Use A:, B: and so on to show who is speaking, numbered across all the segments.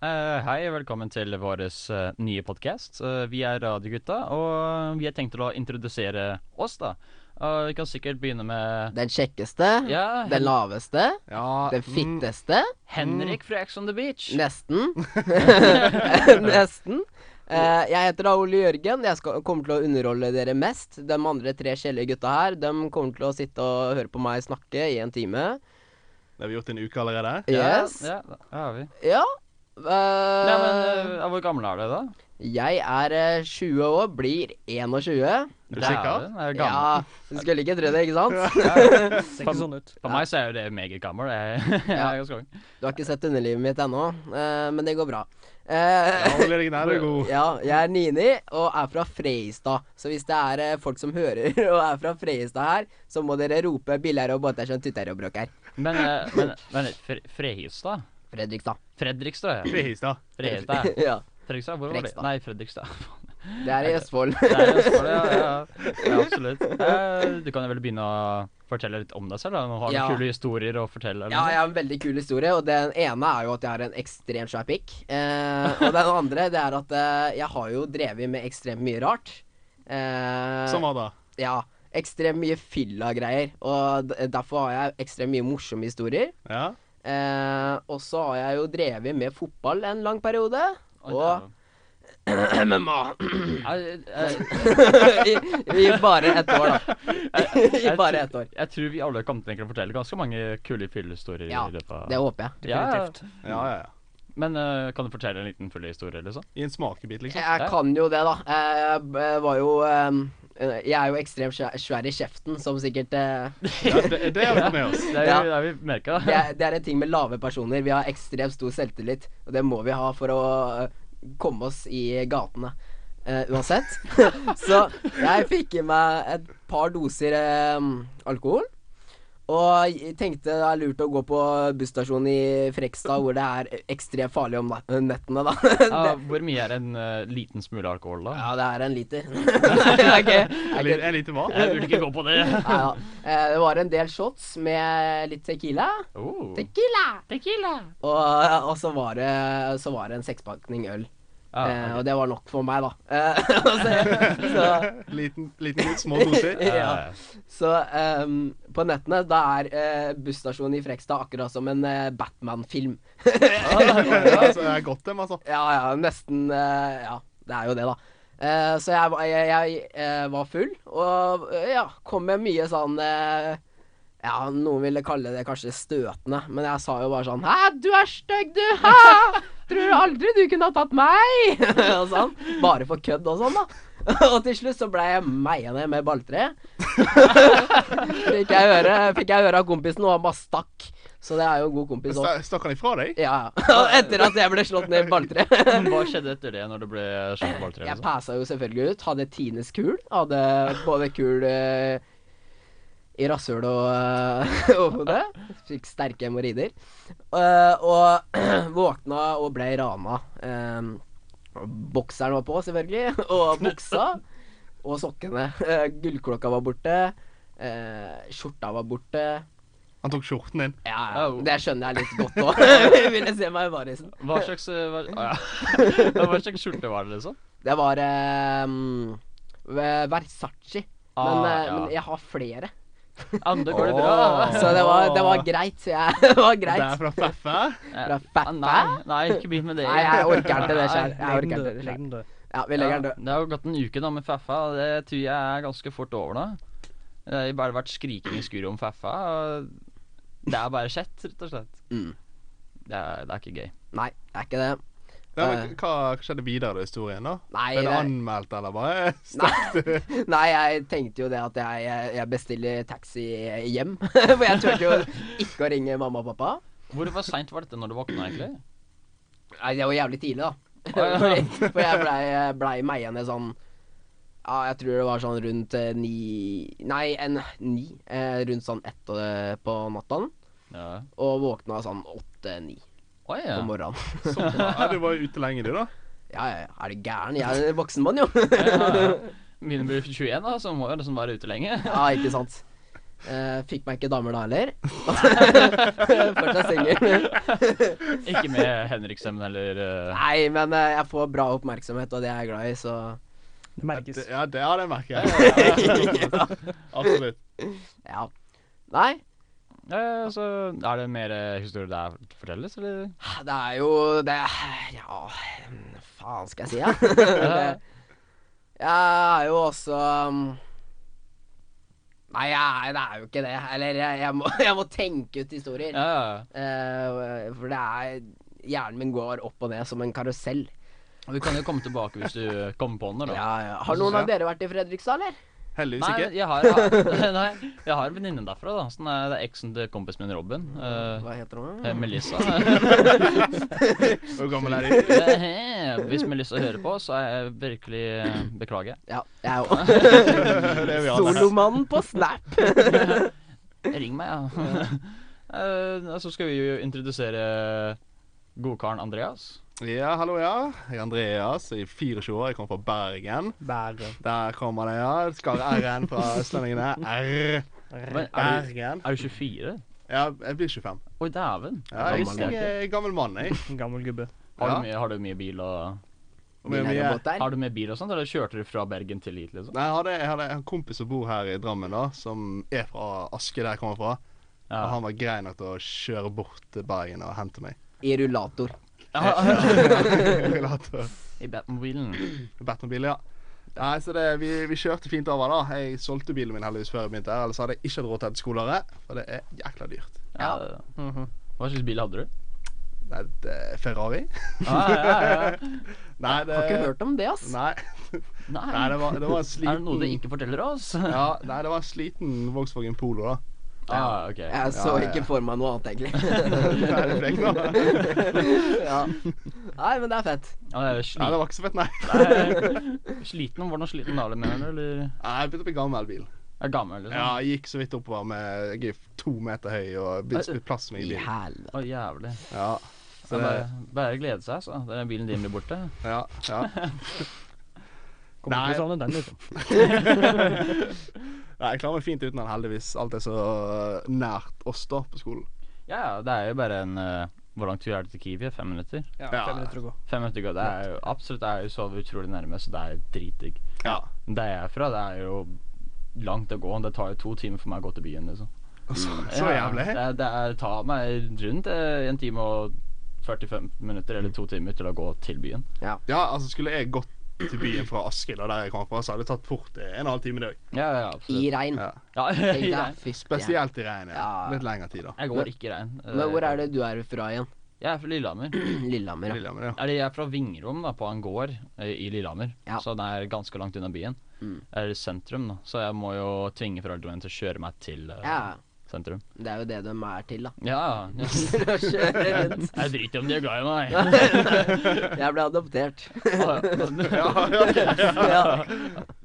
A: Eh, hei, og velkommen til vår eh, nye podkast. vi er Radiogutta, og vi har tenkt til å introdusere oss, da. Og vi kan sikkert begynne med
B: Den kjekkeste,
A: Ja, Ah, mm.
B: den
A: Hen
B: laveste,
C: Ja, mm.
B: den fitteste,
A: Henrik fra Ex on the Beach.
B: nesten. nesten. Eh, jeg heter da Ole Jørgen. Jeg skal, kommer til å underholde dere mest. De andre tre kjedelige gutta her De kommer til å sitte og høre på meg snakke i en time.
C: Det har vi gjort i en uke allerede.
B: Yes.
A: Ja,
B: Ja.
A: ja, da har vi.
B: eh,
A: Nei, men eh, Hvor gammel er du, da?
B: jeg er eh, 20 år, blir 21.
C: Er du sikker?
A: Dæven, er du
B: Ja,
A: gammel?
B: du skulle ikke tro det, ikke sant?
D: Ser ikke sånn ut.
A: For meg så er jo det meget gammel. Jeg, jeg
B: Ja.
A: er ganske ung.
B: Du har ikke sett underlivet mitt ennå, eh, men det går bra. Eh,
C: Ja, Ole Jørgen, her er du god.
B: Ja, jeg er Nini og er fra Freistad. Så hvis det er eh, folk som hører og er fra Freistad her, så må dere rope 'Billigere og båter som tutter og bråker'.
A: Men, eh, men, men Fre Frehistad?
B: Fredrikstad.
A: Fredrikstad, ja.
C: Frihistad.
A: Frehistad.
B: ja.
A: Fredrikstad? Hvor var det?
B: Fredrikstad.
A: Nei, Fredrikstad.
B: Det er i Østfold.
A: Det er Østfold, ja, ja. ja absolutt. Eh, Du kan jo vel begynne å fortelle litt om deg selv? da. Nå har du
B: Ja.
A: kule historier å fortelle. eller
B: Ja,
A: noe
B: jeg har en veldig kul historie, og den ene er jo at jeg har en ekstremt svær pikk. Eh, og den andre det er at eh, jeg har jo drevet med ekstremt mye rart. Eh,
C: Sånn var det.
B: Ja. Ekstremt mye fylla-greier. Og d- derfor har jeg ekstremt mye morsomme historier.
C: Ja.
B: Eh, og så har jeg jo drevet med fotball en lang periode.
A: sånt.
B: Og MMA.
A: Jeg- jeg-
B: I, I bare ett år, da. I
A: jeg
B: bare
A: tror-
B: ett år.
A: Jeg tror vi alle kommer til å fortelle ganske mange kule fyllehistorier.
B: Ja,
A: i løpet av...
B: Det håper jeg.
D: Definitivt.
C: Ja, ja, ja.
A: Men eh, kan du fortelle en liten fyllehistorie, liksom?
C: I en smakebit, liksom.
B: Jeg kan jo det, da. Jeg b- var jo ehm, Jeg er jo ekstremt svær- svær i kjeften, som sikkert eh,
C: Ja, det, det har vi fått med oss.
A: Det er
B: Ja.
A: jo det er vi merka.
B: det, er, det er en ting med lave personer. Vi har ekstremt stor selvtillit, og det må vi ha for å eh, komme oss i gatene. Eh, uansett. så jeg fikk i meg et par doser ehm, alkohol. Og jeg tenkte det er lurt å gå på busstasjonen i Frekstad, hvor det er ekstremt farlig om na- nettene, da.
A: Ja, hvor mye er en eh, liten smule alkohol, da?
B: ja, det er en liter. Nei, ok.
C: En
B: Ok.
C: liten- En liten hva?
A: Jeg burde ikke gå på det.
B: Neida. Eh, Det var en del shots med litt tequila.
A: Oh.
B: Tequila! Og, og så, var det, så var det en sekspakning øl.
A: Ja,
B: Eh,
A: Ah, ok.
B: og det var nok for meg, da. Eh, så så,
C: Liten, liten små doser.
A: Ja,
B: ja.
A: ja.
B: så ehm, på nettene da er eh, busstasjonen i Frekstad akkurat som en eh, Batman-film.
C: Ja, så det er godt, dem, altså.
B: Ja, ja, nesten eh, Ja, det er jo det, da. Eh, så jeg, var- jeg, jeg eh, var full, og eh, ja, kom med mye sånn eh, Ja, noen ville kalle det kanskje støtende, men jeg sa jo bare sånn Hæ, du er stygg, du! Hæ? Tror aldri du kunne ha tatt meg! og sånn. Bare for kødd og sånn, da. og til slutt så ble jeg meia ned med balltre. fikk, jeg høre, fikk jeg høre av kompisen, og han bare stakk. Så det er jo en god kompis òg.
C: Sta- Stakk han ifra deg?
B: Ja, ja. Etter at jeg ble slått ned i balltre.
A: Men Hva skjedde etter det, når du ble slått på balltre?
B: Jeg
A: Liksom?
B: passa jo selvfølgelig ut. Hadde Tines kul. Hadde både kul eh, i rasshøl og eh, og hodet. Fikk sterke hemoroider. Eh, og våkna og ble rana. Eh, bokseren var på, selvfølgelig. Og buksa. Og sokkene. Eh, gullklokka var borte. eh, skjorta var borte.
C: Han tok skjorten din.
B: Ja, ja.
A: Au.
B: Det skjønner jeg litt godt òg. Ville se meg i varisen.
A: Hva slags eh, hva, å, ja. hva slags skjorte var det, liksom?
B: Det var eh, mm, Versace.
A: Ah,
B: men, eh,
A: ja.
B: men jeg har flere.
A: Andre går det
C: Åh.
A: bra.
B: Så det var, det var greit. Så jeg, det var
C: Det er
B: greit.
C: fra Feffe.
B: Fra
A: Ah,
B: Fat
A: Nei, nei, ikke begynn med det.
B: Nei, jeg orker ikke det sjøl. Jeg
D: Legg
B: orker
D: den
B: ikke
D: død,
B: det
D: legg
B: selv.
D: den død.
B: Ja, vi
A: Ja,
B: legger den død.
A: det har jo gått en uke nå med Faffa, og det tror jeg er ganske fort over nå. Det har bare vært skriking i skuret om Faffa. og Det er bare skjett, rett og slett.
B: Mm.
A: Det er, det er ikke gøy.
B: Nei, det er ikke det.
C: Ja, men hva hva skjedde videre i historien, da?
B: Nei,
C: Ble det
B: det-
C: anmeldt, eller bare stakk du?
B: Nei. Nei, jeg tenkte jo det at jeg, jeg- jeg bestiller taxi hjem. For jeg turte jo ikke å ringe mamma og pappa.
A: Hvor var seint var dette når du våkna, egentlig?
B: Nei, det var jævlig tidlig, da.
A: ja.
B: Fordi- For jeg blei ble meiende sånn Ja, jeg tror det var sånn rundt eh, ni Nei, en ni. Eh, rundt sånn ett eh, på natta.
A: Ja.
B: Og våkna sånn åtte-ni
A: Oi, ja.
B: på morgenen.
C: Så bra. Ja, du var jo ute lenge, du, da.
B: Ja, ja, ja. Er du gæren? Jeg er en voksen mann, jo.
A: Ja, ja. Mine blir 21, da, så må jeg liksom være ute lenge.
B: ja, ikke sant. Eh, fikk meg ikke damer da heller. Fortsatt singel.
A: Ikke med Henriksen eller eh,
B: Nei, men eh, jeg får bra oppmerksomhet, og det er jeg glad i, så
D: Det merkes.
C: Det- Ja, det, ja, det merker jeg. Absolutt.
B: ja. Nei,
A: eh, Så er det mer eh, historier der fortelles, eller?
B: det er jo det Ja, faen skal jeg si, ja. det, jeg er jo også um, Nei, jeg, er- det er jo ikke det. Eller jeg, jeg, må, jeg må tenke ut historier.
A: Ja, ja.
B: Eh, for det er Hjernen min går opp og ned som en karusell.
A: Og Vi kan jo komme tilbake hvis du kommer på noe, da.
B: Ja, ja. Har noen av dere vært i Fredrikstad, eller?
C: Heldigvis
A: Nei,
C: ikke.
A: jeg har, jeg har, nei, jeg har en venninne derfra. da Sånn er Det er eksen til kompisen min, Robin. eh,
B: Hva heter
A: eh,
B: hun?
A: Melissa.
C: Hvor gammel er de?
A: Eh, he, Hvis Melissa hører på, så er jeg virkelig eh, beklager.
B: Ja, jeg òg.
C: Det er vi alle.
B: Solomannen på Snap.
A: Ring meg, ja. Eh, så skal vi jo introdusere godkaren Andreas.
C: Ja, hallo, ja. Jeg er Andreas, jeg er 24 år, jeg kommer fra Bergen.
D: Bære.
C: Der kommer det, ja. Skar R-en fra østlendingene. R.
A: Men er, du,
C: Bergen.
A: er du 24?
C: Ja, jeg blir 25.
A: Oi, dæven.
C: Ja, jeg,
A: Gammel
C: jeg
A: mann.
C: er gammel mann, jeg.
D: Gammel gubbe.
A: Har,
C: Ja.
A: du mye, har du mye bil og
C: Og vi er mye-
A: Har du mye bil og sånt, eller kjørte du fra Bergen til hit, liksom?
C: Nei, jeg hadde, jeg hadde en kompis som bor her i Drammen, da, som er fra Aske, der jeg kommer fra. Og
A: Ja.
C: han var grei nok til å kjøre bort til Bergen og hente meg.
B: I rullator.
C: Rullator.
A: I Batmobilen.
C: Batmobil, ja. Nei, så det, vi, vi kjørte fint over, da. Jeg solgte bilen min heldigvis før jeg begynte her, ellers hadde jeg ikke hatt råd til et skolere, for det er jækla dyrt.
A: Ja.
D: Mhm.
A: Hva slags bil hadde du?
C: Nei, det er Ferrari?
A: Ah, ja, ja, ja.
C: Nei, det
B: Har
D: Eh,
B: ikke hørt om det, ass.
C: Nei,
A: Nei.
C: nei det, var, det var en
A: Er det noe du
C: sliten
A: ikke forteller oss?
C: ja, Nei, det var en sliten Volkswagen Polo, da.
A: Ah, ok.
B: Jeg så
C: Ja, ja, ja.
B: ikke for meg noe annet, egentlig.
C: Nei, det, ble ikke noe.
B: ja. Nei, men det er fett.
A: Ah, det er
C: nei,
A: sli
C: det var ikke så fett, nei.
A: Nei, sliten? Hvordan sliten da, mener du? Eller
C: Nei, Jeg begynte å bli gammel bil.
A: er gammel, liksom?
C: Ja, jeg gikk så vidt oppover med Jeg er to meter høy og bit- bit plass med i
B: I
C: bilen.
B: helvete.
A: Å, jævlig.
C: Ja,
A: Så
C: så
A: det...
C: det,
A: bare, bare glede seg, altså. Den bilen din blir borte.
C: ja, ja.
D: Kommer
C: Nei.
D: ikke
A: sånn.
D: til å savne den, liksom.
C: Nei, jeg klarer meg fint uten den, heldigvis. Alt er så øh, nært oss, da, på skolen.
A: Ja, ja, det er jo bare en eh, Hvor lang tur er det til Kiwi? Fem minutter?
D: Ja,
C: Ja.
D: fem minutter å gå.
A: Fem minutter går. Det er jo absolutt det er jo så utrolig nærme, så det er jo dritdigg.
C: Ja.
A: Der jeg er fra, det er jo langt å gå. Det tar jo to timer for meg å gå til byen, liksom.
C: Så,
B: Mm.
C: så
A: Ja,
C: jævlig.
A: Det, det er, tar meg rundt eh, en time og 45 minutter, eller to timer, til å gå til byen.
C: Ja, altså, skulle jeg gått til byen fra Askild, og der jeg kommer fra, så hadde det tatt fort eh, en halv time i dag.
A: Ja, ja, ja,
B: I
A: absolutt.
B: regn.
C: Ja.
A: Ja,
B: Tenk
A: i
B: deg,
A: regn.
B: fytti.
C: Spesielt i regnet.
B: Ja.
C: Litt lengre tid, da.
A: Jeg går ikke i regn. Eh,
B: Men hvor er det du er fra igjen?
A: Jeg er fra Lillehammer.
B: Lillehammer. ja.
C: Lillehammer, ja.
A: Er det, jeg er fra Vingrom, da, på en gård eh, i Lillehammer.
B: Ja.
A: Så den er ganske langt unna byen.
B: Mm.
A: Eller sentrum, da. Så jeg må jo tvinge foreldrene mine til å kjøre meg til eh,
B: Ja,
A: sentrum.
B: det er jo det de er til, da.
A: Ja, ja.
B: Å kjøre rundt.
A: Jeg driter i om de er glad i meg.
B: Jeg ble adoptert.
C: ja, ja, ok.
B: ja.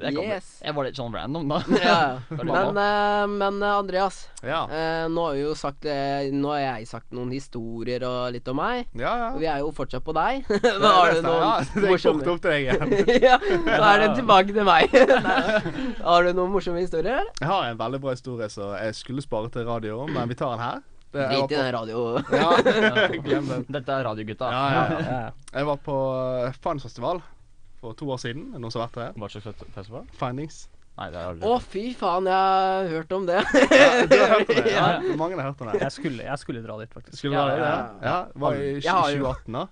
A: Jeg, kom,
B: Yes.
A: jeg var litt sånn random, da.
B: Ja.
A: Var det
B: Men,
A: mamma?
B: eh, men eh, Andreas,
C: ja.
B: eh, nå har vi jo sagt eh, Nå har jeg sagt noen historier og litt om meg.
C: ja, ja.
B: Og vi er jo fortsatt på deg.
C: Det
B: Hva har
C: er
B: du
C: nesten- ja,
B: noen
C: det er kort
B: morsomme
C: opp til deg igjen.
B: Ja, da er det tilbake til meg. Nei. Har du noen morsomme historier? eller?
C: Jeg har en veldig bra historie som jeg skulle spare til radio, men vi tar den her. Det- jeg var
B: Drit i
C: på-
B: den radio...
C: Ja, glem den.
A: Dette er Radiogutta.
C: Ja, ja, ja.
D: Ja.
C: Jeg var på eh, Fun-festival for to år siden. Er det Noen som har vært der?
A: Hva slags fest- festival?
C: Findings.
A: Nei, det er aldri
B: Å, fy faen, jeg har hørt om det.
C: Ja, du har hørt om det? Ja,
A: Ja.
C: mange har hørt om det.
D: Jeg skulle, jeg skulle dra dit, faktisk.
C: Skulle du ha det?
B: Ja,
C: Ja,
B: ja,
C: ja. Var i
B: Jeg har jo-
C: 2018, da.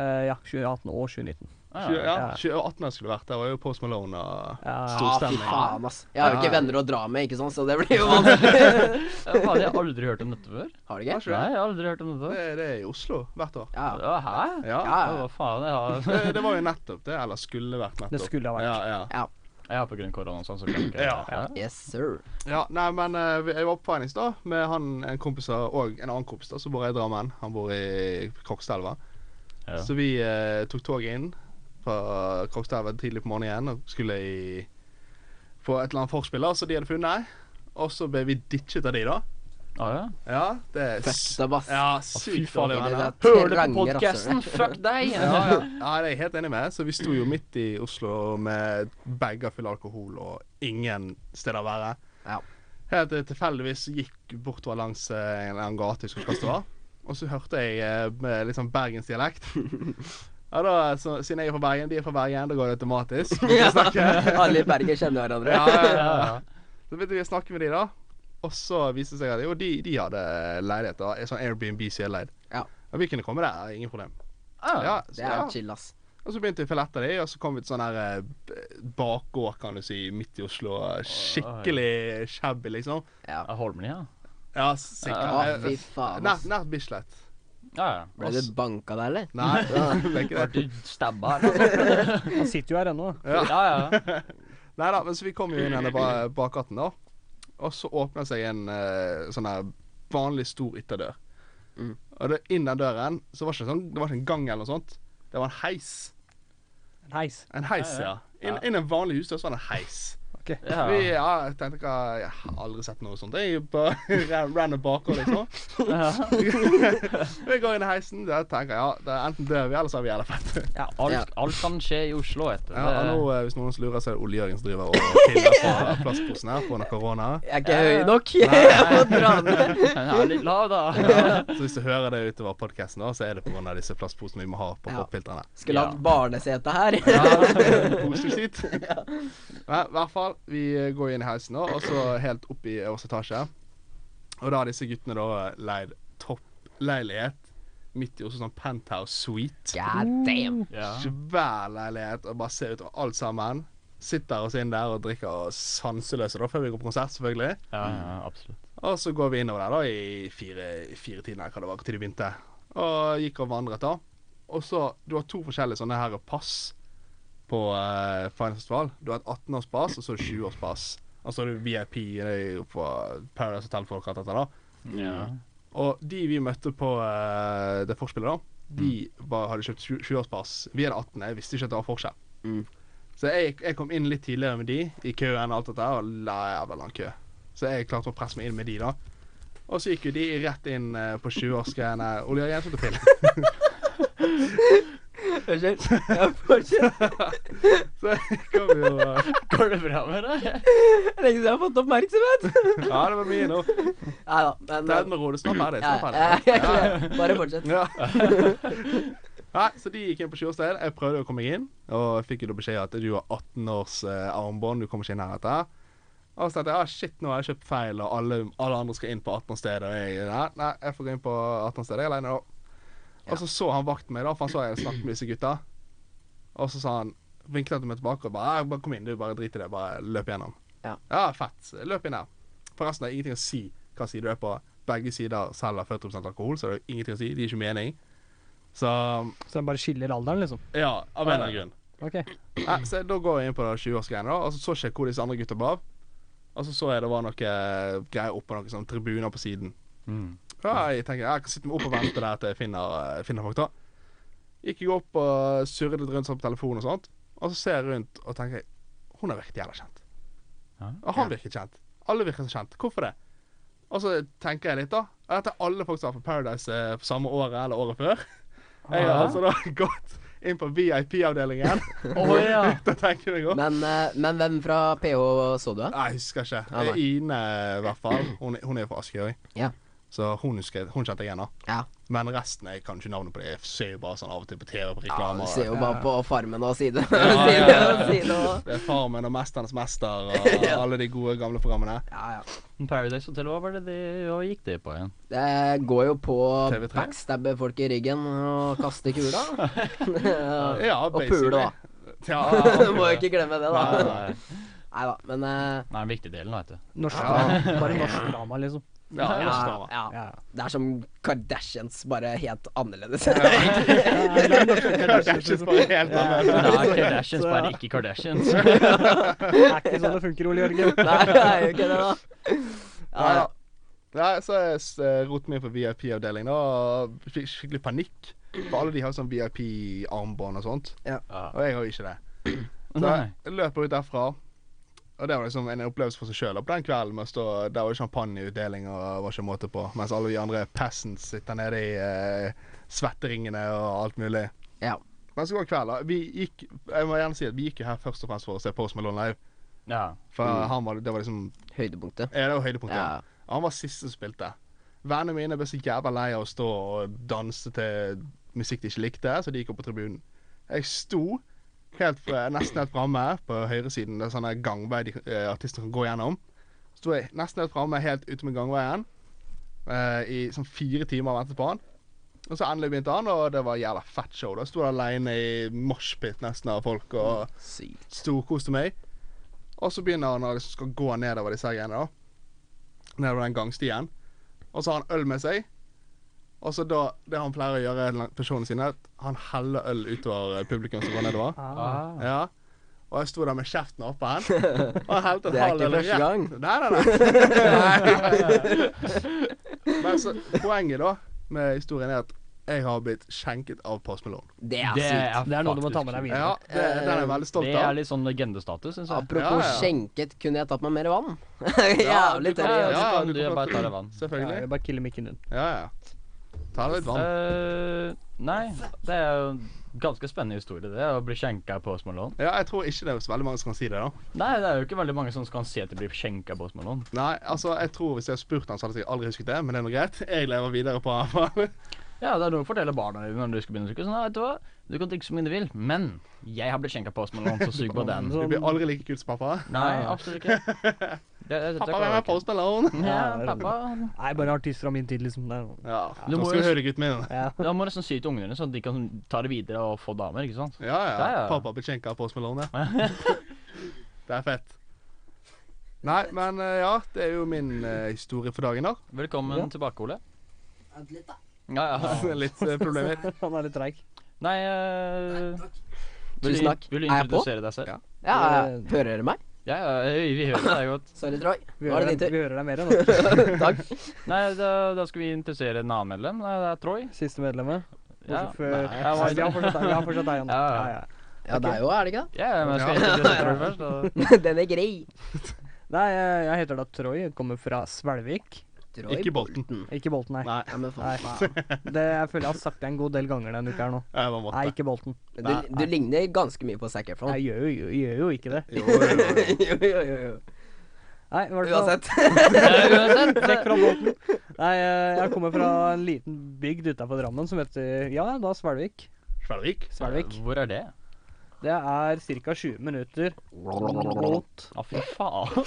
D: Eh, ja, 2018 og 2019.
A: Ja,
C: Tjue-
A: ja.
C: Ja, 2018 jeg skulle vært der. Var jo Post Malone og
D: Ja,
B: Ja,
C: stor
B: fy
C: stemning.
B: faen, ass. Jeg har jo ikke
C: Ja.
B: venner å dra med, ikke sant, så det blir jo vanskelig.
A: Faen, jeg har aldri hørt om dette før.
B: Har du ikke?
A: Nei, jeg har aldri hørt om dette før.
C: Det, det er i Oslo hvert år.
B: Ja.
A: Ja, Hæ?
C: Ja.
B: Ja.
A: Ja, Hva faen? Jeg har,
C: Det, det var jo nettopp det. Eller skulle vært nettopp.
D: Det skulle ha vært.
C: Ja, ja.
A: jeg har på grunn av korona og sånn, så kan jeg ikke
C: Ja.
B: Yes, sir.
C: ja nei, men eh, vi- jeg var på Findings da med han, en kompis av- og en annen kompis da, som bor i Drammen. Han bor i Krokstadelva.
A: Ja.
C: Så vi eh, tok toget inn fra Krokstadelva tidlig på morgenen og skulle i, få et eller annet forspill da, som de hadde funnet. Og så ble vi ditchet av de, da.
A: Ah, ja.
C: Ja, det er
B: Fucked up, ass.
C: Ja,
A: fy
C: sykt
A: faen,
C: farlig å
B: det
C: være
B: der
C: der.
A: Hører du på
C: altså.
B: terranger, ass.
A: podkasten? Fuck deg!
C: Ja, ja. ja, det er jeg helt enig med. Så vi sto jo midt i Oslo med bager fulle av alkohol og ingen steder å være.
B: Ja.
C: Helt til jeg tilfeldigvis gikk bortover langs eh, en eller annen gate jeg skulle kaste over. Og så hørte jeg eh, med litt sånn bergensdialekt. Ja, da, så, siden jeg er fra Bergen, de er fra Bergen, da går det automatisk.
B: Ja. Alle i Bergen kjenner hverandre.
C: Ja, ja, ja, ja. Så begynte vi å snakke med de da. Og så viste det seg at jo, de, de hadde leilighet. da, en Sånn Airbnb som jeg leid.
B: Ja.
C: Og vi kunne komme der, ingen problem.
A: Ah,
C: Ja, så,
B: Det er
C: ja.
B: chill, ass.
C: Og så begynte vi å følge etter de, og så kom vi til sånn her eh, b- bakgård, kan du si, midt i Oslo. Skikkelig shabby, liksom.
B: Ja.
A: ja, Holmlia.
C: Ja, sikkert.
B: Å,
C: Eh,
B: fy faen,
C: Nært,
B: ass.
C: nært Bislett.
A: Ja, ja.
B: Ble du banka der, eller?
C: Nei, det er ikke
A: Ble
C: det.
A: du stabba, eller?
D: Han sitter jo her ennå.
A: Ja, ja.
C: Nei da, men så vi kom jo inn i denne ba- bakgaten, da. Og så åpna seg en eh, sånn her vanlig stor ytterdør.
B: Mm.
C: Og det, inn den døren så var det ikke sånn, det var ikke en gang eller noe sånt. Det var en heis.
D: En heis.
C: En heis,
A: Ja, ja.
C: ja. Inn
A: Ja.
C: inn en vanlig husdør så var det en heis.
D: Ok.
A: ja.
C: Vi, ja, jeg tenkte ikke Jeg har aldri sett noe sånt. Jeg bare ran- random bakgård, liksom. vi går inn i heisen, der tenker jeg ja, det er enten dør vi, eller så er vi jævla fette.
D: Ja.
B: Ja.
A: Alt, alt kan skje i Oslo, vet du.
C: Ja,
A: Det-
C: og nå, eh, hvis noen lurer, så er det Ole Jørgen som driver og piller på plastposen her pga. korona.
B: Jeg er ikke
A: Ja, ja.
B: høy nok.
A: Nei.
B: å dra ned.
A: Den er litt lav, da.
C: Ja, så hvis du hører det utover podkasten, så er det pga. disse plastposene vi må ha på
B: Ja.
C: popfiltrene.
B: Skulle
A: Ja.
B: hatt barnesete her.
C: Ja, poseskitt. Men i hvert fall, vi går inn i heisen nå, og så helt opp i øverste etasje. Og da har disse guttene da leid toppleilighet midt i Oslo, sånn penthouse suite.
B: God damn.
A: Ja.
C: Svær leilighet, og bare ser utover alt sammen. Sitter oss inn der og drikker oss sanseløse da, før vi går på konsert, selvfølgelig.
A: Ja, ja, absolutt.
C: Og så går vi innover der da i fire, fire tiden, eller hva det var, til de begynte. Og gikk og vandret da. Og så, du har to forskjellige sånne her pass på uh, Finance Festival. Du har et 18-årspass, og så har du 20-årspass. Og så har du VIP eh, på Paradise Hotel-folk og alt dette da.
A: Ja.
C: Og de vi møtte på eh, det forspillet da, de var, hadde kjøpt 20 20-årspass. Vi hadde 18, jeg visste ikke at det var forskjell.
B: Mm.
C: Så jeg, jeg kom inn litt tidligere med de i køen og alt dette, og la jævla lang kø. Så jeg klarte å presse meg inn med de da. Og så gikk jo de rett inn eh, på 20-årsgreiene. Ole Jørgen tok pille.
B: Unnskyld. Ja, fortsett.
C: Så jeg kom jo eh,
A: Går det bra med deg?
B: Lenge siden jeg har fått oppmerksomhet.
C: Ja, det var mye nå.
B: Nei da, men
C: Ta det med ro. Det er snart ferdig.
B: ja,
C: Snart ferdig.
B: ja, jeg klarer det. Bare fortsett.
C: Ja. Nei, så de gikk inn på 20-årsdagen. Jeg prøvde å komme meg inn, og fikk jo da beskjed at du har 18 års eh, armbånd, du kommer ikke inn her etter. Og så tenkte jeg ah, shit, nå har jeg kjøpt feil, og alle, alle andre skal inn på 18-årsstedet. Og jeg nei, nei, jeg får gå inn på 18-årsstedet jeg er alene, da. Og så så han vakten meg, da, for han så jeg snakket med disse gutta. Og så sa han vinket han til meg tilbake og bare, «Ah, bare kom inn, du, bare drit i det, bare løp gjennom.
B: Ja.
C: ja fett. Løp inn her. Forresten, det er ingenting å si hva side du er på. Begge sider selger 40 alkohol, så det er jo ingenting å si. Det gir ikke mening. Så
D: Så den bare skiller alderen, liksom.
C: ja, av en eller annen grunn.
D: Ok.
C: Nei, så da går jeg inn på det 20-årsgreiene, da, og så så ikke jeg hvor disse andre gutta var. Og så så jeg det var noe greier oppå noen sånne tribuner på siden.
A: Mm.
C: Ja, jeg tenker jeg kan sitte meg opp og vente der til jeg finner, eh, finner folk, da. Gikk jeg opp og surret litt rundt sånn på telefonen og sånt, og så ser jeg rundt og tenker Hun har virket jævla kjent.
A: Ja.
C: Og han virker kjent. Alle virker så kjent. Hvorfor det? Og så tenker jeg litt, da. Og Dette er alle folk som har vært på Paradise eh, på samme året eller året før. Jeg har
A: Ah.
C: altså da gått inn på VIP-avdelingen.
A: Å, ja.
C: da tenker jeg meg om.
B: Men, eh, men hvem fra PH så du, da?
C: Nei, jeg husker ikke.
B: Ah, nei.
C: Ine, i hvert fall. Hun, hun er jo fra Askøy.
B: Ja.
C: Så hun, husker, hun kjente jeg igjen, da.
B: Ja.
C: Men resten jeg kan ikke navnet på det. Jeg ser jo bare sånn av og til på TV
B: ja du
C: på reklamer.
B: ser jo bare på Farmen og Side.
C: Ja, ja,
B: side,
C: ja.
B: side og
C: Det er Farmen og Mesternes mester og alle de gode, gamle programmene.
B: Ja, ja.
A: Men Paradise Hotel, hva var det de hva gikk det på igjen?
B: Det går jo på
C: TV3?
B: backstabbe folk i ryggen og kaste kula. Ja,
C: Ja,
B: og pule, da.
C: Ja,
B: Må jo ikke glemme det,
A: Nei,
B: da.
A: nei,
B: Nei da, men eh,
A: nei, en viktig delen, vet du.
D: Norsk
C: Ja.
D: drama. Bare norsk drama, liksom.
C: Ja, det er
B: ja,
C: bra.
B: ja.
D: Ja.
B: Det er som Kardashians, bare helt annerledes.
D: Ja, det er norske Kardashians,
C: Kardashians
D: liksom.
C: bare helt annerledes.
A: Det er Kardashians, bare ikke Kardashians.
D: Det er ikke sånn det funker, Ole Jørgen.
B: Nei, det er jo ikke det, da. Ja,
C: Nei,
B: ja.
C: da. Nei, så jeg s- eh, rotet meg inn på VIP-avdelingen og fikk skikkelig panikk. For alle de har sånn VIP-armbånd og sånt,
A: Ja.
C: og jeg har jo ikke det. Så
A: Nei.
C: jeg løper ut derfra, og det var liksom en opplevelse for seg sjøl. På den kvelden med å stå Der var det champagneutdeling og var ikke måte på, mens alle vi andre peasants sitter nede i eh, svetteringene og alt mulig.
B: Ja.
C: Men så går kvelden. Vi gikk Jeg må gjerne si at vi gikk jo her først og fremst for å se Post Malone live.
A: Ja.
C: For
B: Mm.
C: han var, det var liksom
B: Høydepunktet.
C: Ja, det var høydepunktet.
B: Ja.
C: Han var siste som spilte. Vennene mine ble så jævla lei av å stå og danse til musikk de ikke likte, så de gikk opp på tribunen. Jeg sto helt fra, nesten helt framme på høyresiden. Det er sånn en gangvei de, eh, artister kan gå gjennom. Sto jeg nesten helt framme, helt ute med gangveien, eh, i sånn fire timer og ventet på han. Og så endelig begynte han, og det var jævla fett show. Da sto jeg aleine i moshpit nesten av folk og
B: Sykt.
C: storkoste meg. Og så begynner han å liksom skal gå nedover disse her greiene, da. Nedover den gangstien. Og så har han øl med seg. Og så da, det han pleier å gjøre, lang- personene sine, er at han heller øl utover eh, publikum som går nedover.
D: Ah.
A: Ah.
C: Ja. Og jeg sto der med kjeften oppe hen. Og han helte en
B: Det er
C: halv
B: ikke
C: øl
B: første gang.
C: Nei, nei, nei. Men så poenget, da, med historien er at jeg har blitt skjenket av Post Malone.
B: Det er
A: Det
B: sykt.
A: er
D: Det er noe du må ta
A: faktisk
D: med deg
A: sykt.
D: videre.
C: Ja, det, den er jeg veldig stolt
A: Det
C: av.
A: er litt sånn legendestatus, syns jeg.
B: Apropos
C: Ja, ja.
B: skjenket, kunne jeg tatt meg mer vann?
C: Ja,
B: Jævlig
A: Ja, ja,
B: tørr. altså. i halsen.
A: så kan
C: du
A: du
C: kan
A: bare
C: prate.
A: ta deg vann.
D: Ja,
C: Selvfølgelig.
D: jeg bare killer mikken din.
C: Ja, ja. Ta deg litt vann.
A: Eh, nei, det er jo en ganske spennende historie, det. Å bli skjenka på Post Malone.
C: Ja, jeg tror ikke det er så veldig mange som kan si det, da.
A: Nei, det er jo ikke veldig mange som kan si at de blir skjenka på Post Malone.
C: Nei, altså, jeg tror hvis jeg hadde spurt han, så hadde jeg sikkert aldri husket det, men det er nå greit. Jeg lever videre på han.
A: Ja, det er noe å fortelle barna dine når du skal begynne å drikke. Sånn, «Nei, vet du hva, du kan drikke så mye du vil, men jeg har blitt skjenka på Post Malone, så sug på den.
C: Du blir aldri like kul som pappa.
A: Nei, absolutt ikke. Det, det, det,
C: Pappa, hvem er Post Malone?
A: Ja, pappa
D: Nei, bare artister av min tid, liksom. Det er sånn.
C: Ja,
A: Du
C: nå
A: må
C: skal
A: jo-
C: du høre gutten min.
D: Ja.
A: Da må du nesten si det til ungene dine, så de kan ta det videre og få damer, ikke sant?
C: Ja, ja.
A: Ja, ja.
C: Pappa blir skjenka av Post Malone. ja. Det er fett. Nei, men eh, ja, det er jo min eh, historie for dagen, da.
A: Velkommen
D: Ja.
A: tilbake, Ole.
B: Vent litt, da.
A: Ja, ja.
C: Litt eh, problemer.
D: Han er litt treig.
A: Nei eh, vil,
B: Tusen
A: du-
B: takk.
A: Vil du
B: Er jeg på?
A: introdusere deg selv?
C: Ja.
B: Ja, ja. hører dere meg?
A: Ja, ja, eh, vi vi hører deg godt.
B: Sorry, Troy.
D: Vi
B: Nå er
D: hører
B: det
D: deg-
B: din tur.
D: vi hører deg mer nå.
B: Takk.
A: Nei, da, da skal vi introdusere en annen medlem. Nei, Det er Troy.
D: Siste medlemmet.
A: Ja.
D: Bortsett fra-
A: Nei,
D: Nei,
A: jeg
D: Vi har
A: var-
D: fortsatt deg, vi har fortsatt deg igjen.
A: Ja, ja.
D: Ja, ja.
B: Ja, det er jo, er det ikke
A: Ja, men jeg skal
C: Ja.
A: introdusere Troy først. da.
B: det? Den er grei.
D: Nei, jeg jeg heter da Troy. Jeg kommer fra Svelvik.
B: Troy
C: Ikke Bolten.
D: Ikke Bolten, nei.
C: Nei,
B: Ja, men
D: Nei.
B: faen.
D: Det, jeg føler jeg har sagt det en god del ganger denne uka her nå.
C: jeg bare
D: Nei,
C: måtte.
D: ikke Bolten.
B: Men Du, du ligner ganske mye på Zac Efron.
D: Jeg gjør jo, gjør jo ikke det.
C: Jo, jo, jo.
B: jo, jo, jo, jo.
D: Nei, i hvert fall-
B: Uansett.
D: Vekk fra båten. Nei, eh, jeg kommer fra en liten bygd utafor Drammen som heter Ja, da Svelvik.
C: Svelvik.
D: Svelvik.
A: Hvor er det?
D: Det er ca. 20 minutter. Mot,
A: Å, Ah, fy faen.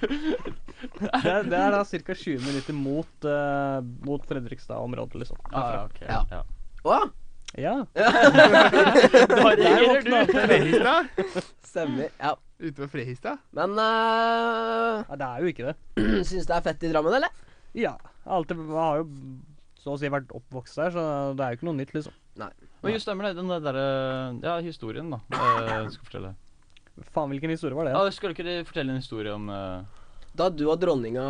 D: det, er, det er da ca. 20 minutter mot, eh, mot Fredrikstad-området, liksom.
A: Ah, ja, ok.
B: Ja.
A: Ja.
B: Å,
D: Ja.
A: Varierer du?
C: Frehistad?
B: stemmer. Ja.
C: Ute ved Frehistad?
B: Men uh,
D: ja. Det er jo ikke det.
B: syns det er fett i Drammen, eller?
D: Ja. Alltid, jeg har jo så å si vært oppvokst der, så det er jo ikke noe nytt, liksom.
A: Men jo, stemmer det. Den der eh, Ja, historien, da. eh, skal fortelle.
D: Faen, hvilken historie var det?
A: Ja, skulle ikke du fortelle en historie om eh,
B: Da du og dronninga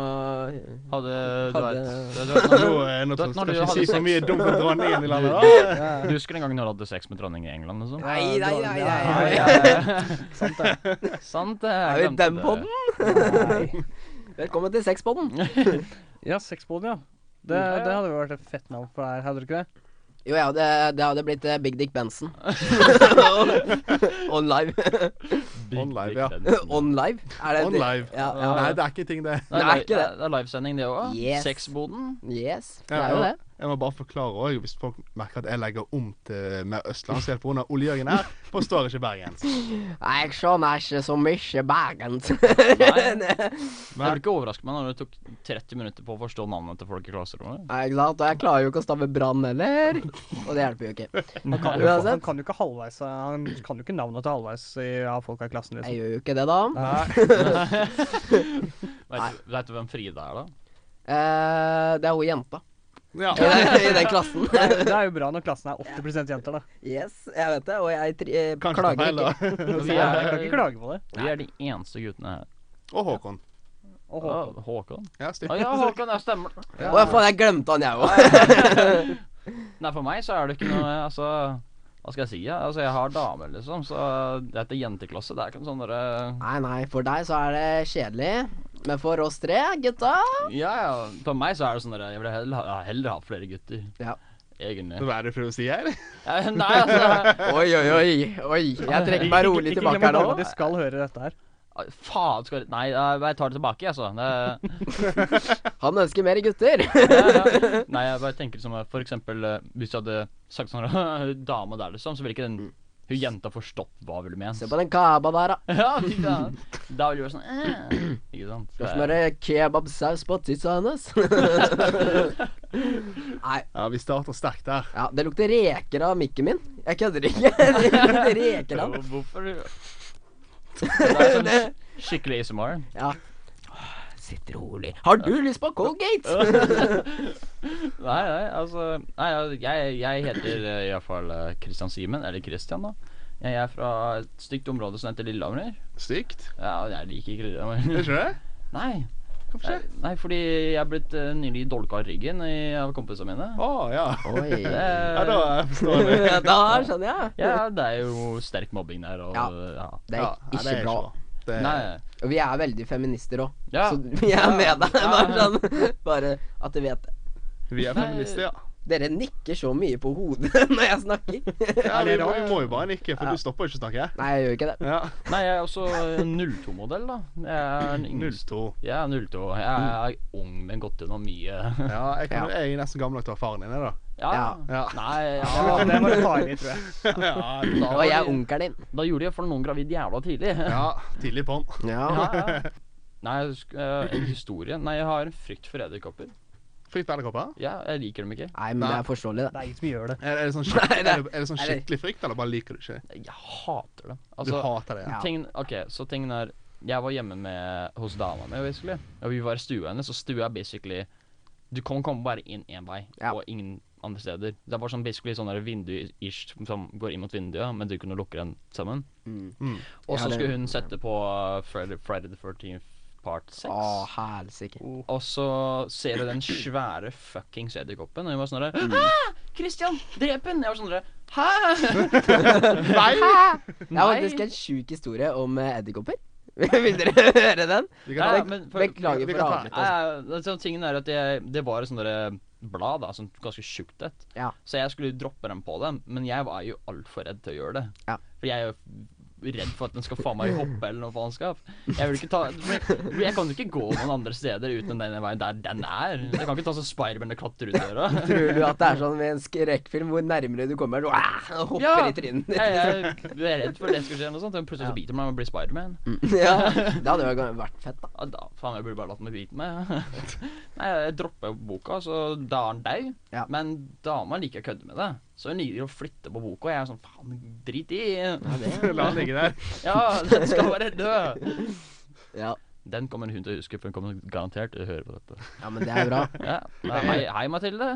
A: Hadde Du
B: Hadde-
A: vet- du vet
C: Nå,
A: når du-
C: eh, nå
A: Da- når
C: skal
A: du
C: ikke
A: hadde
C: si så
A: sex.
C: mye dumt om dronningen i landet. da.
D: Ja,
A: Du husker en gang når du hadde sex med dronning i England? Liksom?
D: ja.
B: Nei, nei, nei, nei,
D: Ja,
B: nei.
D: ja, ja. Sant det.
A: Sant det. jeg
B: Er vi i
A: glemte
B: den
A: det.
B: podden?
D: Nei.
B: Velkommen til sexpodden.
D: Ja, sexboden, ja. Det,
A: Ja, ja.
D: det hadde jo vært et fett navn for det her, hadde det ikke det?
B: Jo, ja, det, det hadde blitt eh, Big Dick Benson. On live.
A: Big
C: On live,
A: Dick
C: ja.
A: Benson.
B: On live? Er det
C: On
B: det?
C: live.
B: Ja,
C: Nei,
B: ja.
C: det er ikke ting, det.
A: Det er,
B: Nei,
A: li-
B: ikke det.
A: det er livesending, det òg.
B: Yes.
A: Sexboden.
B: Yes, det
C: Ja,
B: er jo
C: ja.
B: det.
C: Jeg må bare forklare også, hvis folk merker at jeg legger om til mer østlandsk helt pga. Ole Jørgen her, forstår ikke bergensk.
B: Jeg skjønner ikke så mye bergensk.
A: Nei. Jeg vil
C: Men
A: ikke overraske meg når det tok 30 minutter på å forstå navnet til folk i klasserommet.
B: Nei, ikke sant? Og jeg klarer jo ikke å stave brann heller. Og det hjelper jo ikke.
D: Han kan, jo,
B: Uansett.
D: han kan jo ikke halvveis eh, Han kan jo ikke navnet til halvveis i- av folk her i klassen.
B: Jeg
D: Liksom.
B: gjør jo ikke det, da.
A: Vet, du- vet du hvem Frida er, da?
B: Eh, det er hun jenta
C: ja.
B: i den, i den klassen.
D: Det, er, det er jo bra når klassen er 80 jenter, da.
B: Yes, jeg vet det. Og jeg tri eh,
C: Kanskje det er
B: klager
C: feil,
B: ikke.
C: da.
D: Så jeg, jeg kan ikke klage på det.
A: Vi er de eneste guttene her.
C: Og Håkon.
D: Og
A: Å,
D: Håkon.
A: Håkon?
C: Ja, styr.
A: Å ja, Håkon, ja, stemmer.
B: Å, ja, faen, jeg glemte han, jeg òg.
A: Nei, for meg så er det ikke noe Altså, hva skal jeg si? Ja? Altså, jeg har damer, liksom, så dette jenteklasse, det er ikke noe sånn derre
B: Nei, nei, for deg så er det kjedelig. Men for oss tre, gutta
A: Ja, ja. For meg så er det sånn derre Jeg vil heller, ha- heller ha flere gutter.
B: Ja.
A: Egentlig.
C: Hva er det for å si her?
A: Ja, Nei, altså
B: Oi, oi, oi. oi Jeg trekker meg rolig
D: Ikke
B: tilbake
D: glem at
B: her nå.
D: dama di skal høre dette her.
A: Ah, Faen, skal du Nei, eh, jeg tar det tilbake, altså. Det,
B: Han ønsker mer gutter!
A: ja, ja. Nei, jeg bare tenker liksom eh, For eksempel eh, hvis du hadde sagt sånn dame der, liksom, så ville ikke den hun jenta forstått hva hun ville ment.
B: Se på den kaba der, da.
A: Ja, fy faen. Da ville du vært sånn eh. Ikke sant?
B: Skal
A: Det-
B: smøre kebabsaus på tissa hennes. Nei.
C: Ja, vi starter sterkt der.
B: Ja, det lukter reker av mikken min. Jeg kødder ikke. Det lukter reker av den.
A: Hvorfor Det er sånn sk- skikkelig ASMR.
B: Ja. Sitt rolig. Har du lyst på Colgate?
A: Nei, nei, altså Nei, al- jeg, jeg heter eh, i hvert fall eh, Christian Simen, eller Christian, da. Jeg er fra et stygt område som heter Lillehammer.
C: Stygt.
A: Ja, og jeg liker ikke
C: Er
A: Lillehammer.
C: ikke det?
A: Nei.
C: Hvorfor
A: Nei,
C: ikke?
A: nei, fordi jeg er blitt eh, nylig dolka i ryggen i- av kompisene mine.
C: Å, ja.
B: Oi.
C: Ja, da eh, forstår jeg det.
B: Da skjønner jeg.
A: Ja, det er jo sterk mobbing der, og
B: Ja.
A: ja.
B: Det
C: Ja,
B: er
C: nei,
B: ikke bra.
C: Det,
A: Nei.
B: Og vi er veldig feminister òg,
A: Ja.
B: så vi er med deg.
A: Ja.
B: Bare, sånn, bare at du vet det.
C: vi er feminister, ja.
B: Dere nikker så mye på hodet når jeg snakker.
C: ja vi,
A: det er
C: må,
A: rart.
C: vi må jo bare nikke, for
B: Ja.
C: du stopper jo ikke å snakke.
B: Nei, jeg gjør ikke det.
C: Ja.
A: Nei, jeg er også eh, 02-modell, da. Jeg er den yngste.
C: 02.
A: Jeg er 02.
B: Mm.
A: Jeg er ung, men gått gjennom mye.
C: Ja, jeg, kan, jeg er nesten gammel nok til å ha faren din, jeg, da.
A: Ja.
B: Ja.
C: Ja.
A: Nei,
D: Det var,
A: ja.
D: det var litt farlig, tror jeg.
C: Ja,
A: Da,
B: Og jeg er onkelen din.
A: da gjorde jeg for noen gravid jævla tidlig.
C: ja tidlig på'n.
A: Ja, ja. Nei, jeg sk- eh, en historie Nei, jeg har en frykt for edderkopper.
C: Frykt for edderkopper?
A: Ja, jeg liker dem ikke.
B: Nei, men det er forståelig,
D: Det
B: det.
D: er ingen som gjør det.
C: Er, er, det sånn skik-
B: Nei, det-
C: er, det, er det sånn
B: er det-
C: skikkelig frykt, eller bare liker du ikke?
A: Jeg hater dem.
C: Du
A: Altså,
C: hater det?
B: Ja.
A: tingen, OK, så tingen er Jeg var hjemme med, hos dama mi, basically. Og vi var i stua hennes, og stua er basically Du kan komme bare inn én vei,
B: Ja.
A: og ingen andre steder. Det er bare sånn basically sånn der vindu-ish som går inn mot vinduet, men du kunne lukke den sammen.
B: Mm.
C: Mm.
A: Og
B: Ja,
A: så
B: det-
A: skulle hun sette på uh, Friday, Friday the 13th part 6.
B: Å, helsike.
A: Og så ser du den svære fuckings edderkoppen, og hun var sånn der
B: Mm.
A: Hæ! Christian! Drep henne! Jeg var sånn der Hæ?
B: Jeg har faktisk en sjuk historie om eh, edderkopper. Vil dere høre den?
C: Vi
A: Ja,
C: kan ta,
A: men for,
B: Beklager for
C: vi kan ta-
B: avbrytelsen.
A: Nei, nei, altså, tingen er at jeg, det var et sånt derre blad, da, sånn ganske tjukt et.
B: Ja.
A: Så jeg skulle droppe den på dem, men jeg var jo altfor redd til å gjøre det.
B: Ja.
A: For jeg er jo redd for at den skal faen meg hoppe eller noe faenskap. Jeg vil ikke ta for Jeg kan jo ikke gå noen andre steder uten den veien der den er. Jeg kan ikke ta sånn Spiderman og klatre ut døra.
B: Tror du at det er sånn med en skrekkfilm hvor nærmere du kommer, du ah, hopper
A: Ja.
B: i trynet ditt?
A: Jeg, jeg, er redd for at det skal skje, noe sånt. og plutselig så biter meg og blir Spiderman.
B: Ja. Det hadde jo vært fett, da.
A: Ja, da, faen, jeg burde bare latt meg bite meg. Nei, jeg droppa jo boka, så da er han dau.
B: Ja.
A: Men dama liker å kødde med det, så hun liker å flytte på boka. Og jeg er sånn faen, drit i.
C: La den ligge der.
A: Ja, den skal bare dø.
B: Ja,
A: Den kommer hun til å huske, for hun kommer garantert til å høre på dette.
B: ja men det er bra.
A: Ja. Nei, hei, hei, Mathilde.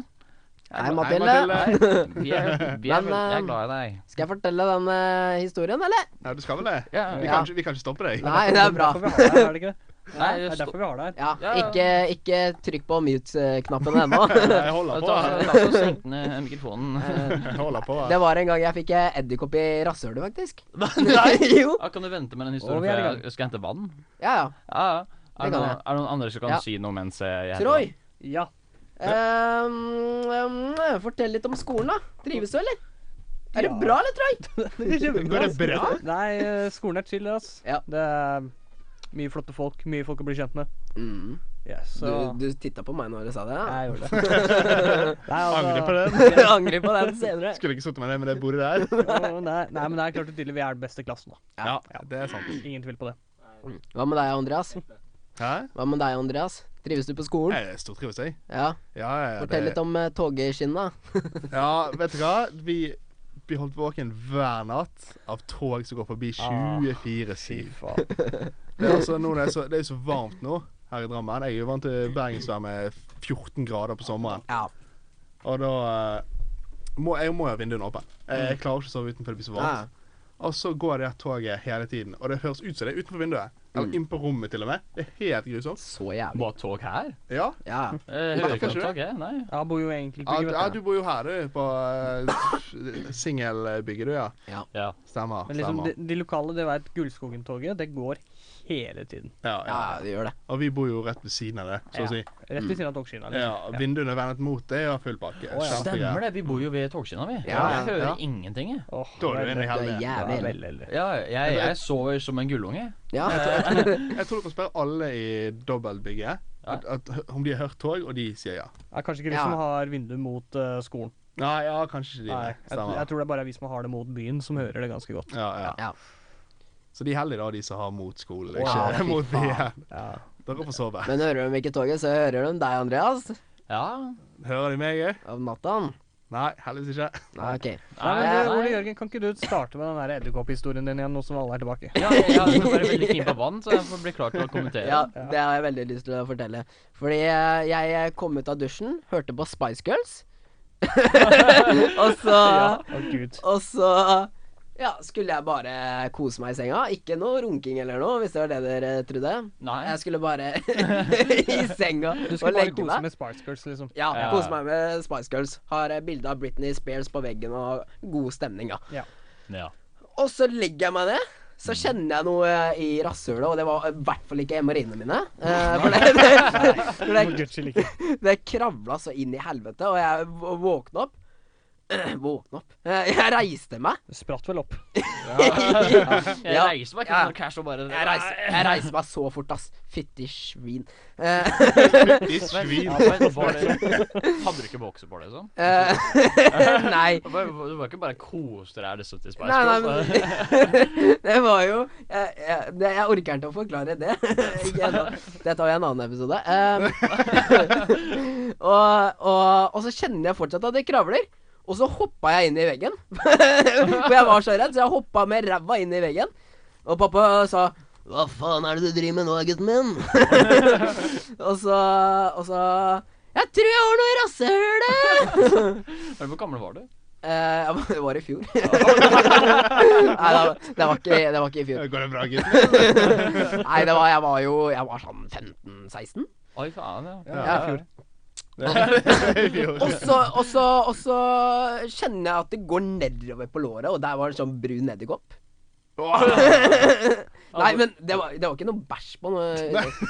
B: Hei,
A: Ma-
B: Mathilde.
A: Hei, vi er, vi er,
B: Men,
A: vel- jeg
B: eh,
A: er glad i deg.
B: Skal jeg fortelle den eh, historien, eller?
C: Ja, du skal vel det?
A: Ja,
C: Vi
A: ja.
C: kan, ikke, vi kan ikke stoppe deg.
B: Nei, det er bra.
D: Derfor vi har det her, er det ikke?
A: Nei,
D: Det er
A: stå-
D: derfor vi har det her.
B: Ja,
A: Ja, ja.
B: ikke, ikke trykk på mute-knappen ennå.
C: Jeg holder på. Eh,
A: ta, la oss senke ned mikrofonen.
C: Jeg holder på.
B: Det var en gang jeg fikk eh, edderkopp i rasshølet, faktisk. jo.
A: Ja, kan du vente med den
D: Og
A: historien,
D: vi er i
A: for
D: gang.
A: jeg- jeg skal hente vann?
B: Ja, ja.
A: Ja, ja. Er
B: Det
A: det,
B: kan
A: noen,
B: jeg.
A: er det noen andre som kan
B: Ja.
A: si noe mens jeg jeg
B: Troy,
D: Ja.
B: ehm, ehm, fortell litt om skolen, da. Trives du, eller? Er det
D: Ja.
B: bra, eller, Troy?
C: Går det bra?
D: Nei, eh, skolen er chill, ass.
B: Ja.
D: Det er mye flotte folk. Mye folk å bli kjent med. Yes,
B: Du,
D: så
B: Mm. du titta på meg når du sa det? Ja.
D: Jeg gjorde det. Nei, altså,
C: Angrer på den.
B: Jeg angrer på den senere.
C: Skulle ikke sittet med det med det bordet der.
D: Å, nei, nei, men det er klart og tydelig vi er den beste klassen, da.
B: Ja.
C: Ja, det er sant.
D: Ingen tvil på det.
B: Hva med deg, Andreas?
C: Hæ?
B: Hva med deg, Andreas? Trives du på skolen?
C: Jeg stortrives, jeg.
B: Ja.
C: Ja, ja, ja,
B: Fortell
C: det-
B: litt om uh, togskinna.
C: Ja, vet du hva? Vi blir holdt våken hver natt av tog som går forbi
B: Ah.
C: 24-7.
D: faen.
C: Det er altså nå det er, så, det er jo så varmt nå her i Drammen. Jeg er jo vant til bergensvær med 14 grader på sommeren.
B: Ja.
C: Og da eh, må jeg må jo ha vinduene åpne. Jeg,
D: Mm.
C: jeg klarer ikke å sove utenfor det blir så
B: Ja.
C: varmt. Og så går det her toget hele tiden, og det høres ut som det er utenfor vinduet.
D: Mm.
C: Eller inn på rommet, til og med. Det er helt grusomt.
B: Så jævlig.
A: Var tog her?
C: Ja.
B: Ja.
A: Eh, hører ikke om
C: kanskje
A: tog, jeg. Nei.
D: Ja, bor jo egentlig
C: Ja,
D: ikke,
C: du, ja,
D: vet
C: du
D: du.
C: bor jo her, du. På eh, singelbygget, du, ja.
A: Ja.
C: Stemmer.
D: Men liksom,
C: stemmer.
D: de, de lokale, det veit Gullskogen-toget, det går hele tiden.
C: Ja, ja.
B: Ja, det gjør det.
C: Og vi bor jo rett ved siden av det, så å si.
D: Ja, Rett ved siden av Togskinna. liksom.
C: Ja, Vinduene vendt mot det og full pakke.
D: Å, ja.
A: Stemmer det, vi bor jo ved togskinna, vi.
B: Ja,
A: jeg hører
C: ja.
A: ingenting, jeg.
D: Åh,
C: Da er du inne i
B: Du er
D: veldig-
C: helvete.
D: Ja,
B: jævlig heldig.
D: veldig heldig.
A: Ja, jeg, jeg sover som en gullunge.
B: Ja.
C: Jeg tror du kan spørre alle i dobbeltbygget at, at, om de har hørt tog, og de sier ja.
D: Ja, kanskje ikke vi
B: Ja.
D: som har vindu mot eh, skolen.
C: Nei, ja, kanskje ikke de.
D: Nei,
C: Nei,
D: jeg,
C: stemmer.
D: jeg tror det er bare vi som har det mot byen, som hører det ganske godt.
C: Ja, ja.
B: Ja.
C: Så de er heldige, da, de som har mot skolen,
D: Wow,
C: ikke
B: fy
C: mot byen.
D: Ja.
C: Dere får sove.
B: Men hører de ikke toget, så hører de deg, Andreas.
A: Ja.
C: Hører de meg òg?
B: Om natta.
C: Nei, heldigvis ikke.
B: Nei, OK.
D: Nei, men
B: Nei.
D: eh, Ole Jørgen, kan ikke du starte med den der edderkopphistorien din igjen, nå som alle er tilbake?
A: Ja, jeg jeg er bare veldig keen på vann, så jeg får bli klar til å kommentere.
B: Ja, det har jeg veldig lyst til å fortelle. Fordi eh, jeg eh, kom ut av dusjen, hørte på Spice Girls. og så
D: Å, gud.
B: Og så ja, skulle jeg bare kose meg i senga. Ikke noe runking eller noe, hvis det var det dere trodde.
A: Nei.
B: Jeg skulle bare i senga
D: Du
B: og
D: skulle bare
B: legge
D: kose
B: meg.
D: med Spice Girls, liksom.
B: Ja,
A: Ja.
B: kose meg med Spice Girls. Har eh, bilde av Britney Spears på veggen og god stemning, ja.
D: Ja.
A: Ja.
B: Og så legger jeg meg ned. Så kjenner jeg noe eh, i rasshølet, og det var i hvert fall ikke hemoroidene mine. Eh, for det, det, for det,
D: Må Gucci like.
B: det kravla så inn i helvete, og jeg v- våkna opp. Våkna opp. Eh, Jeg reiste meg.
D: Det spratt vel opp.
A: Jeg
B: Ja.
A: reiser meg ikke
B: Ja.
A: sånn cash og bare
B: Jeg reiser, jeg reiser meg så fort, ass. Fytti svin. Eh,
C: De svin.
A: Ja, men var det, hadde du ikke bokse på det, sånn?
B: eh, nei.
A: Du var du var ikke bare koste deg liksom til Spice
B: Nei, nei,
A: Girls, da?
B: men Det var jo Jeg, jeg, det, jeg orker ikke å forklare det. Ikke ennå. Det tar vi i en annen episode. Eh, og, og, og så kjenner jeg fortsatt at det kravler. Og så hoppa jeg inn i veggen. For jeg var så redd, så jeg hoppa med ræva inn i veggen. Og pappa sa Hva faen er det du driver med nå, gutten min? og så Og så Jeg tror jeg har noe i rasshølet!
A: Men Hvor gammel var du?
B: Eh, ja, men det var i fjor. Nei, det var, det var, ikke, det var ikke i fjor.
C: Går det bra, gutten?
B: Nei, det var, jeg var jo Jeg var sånn 15-16.
A: Oi, faen, ja.
D: Ja, i fjor.
B: Og så, og, så, og så kjenner jeg at det går nedover på låret, og der var det sånn brun edderkopp. Nei, men det var, det var ikke noe bæsj på noe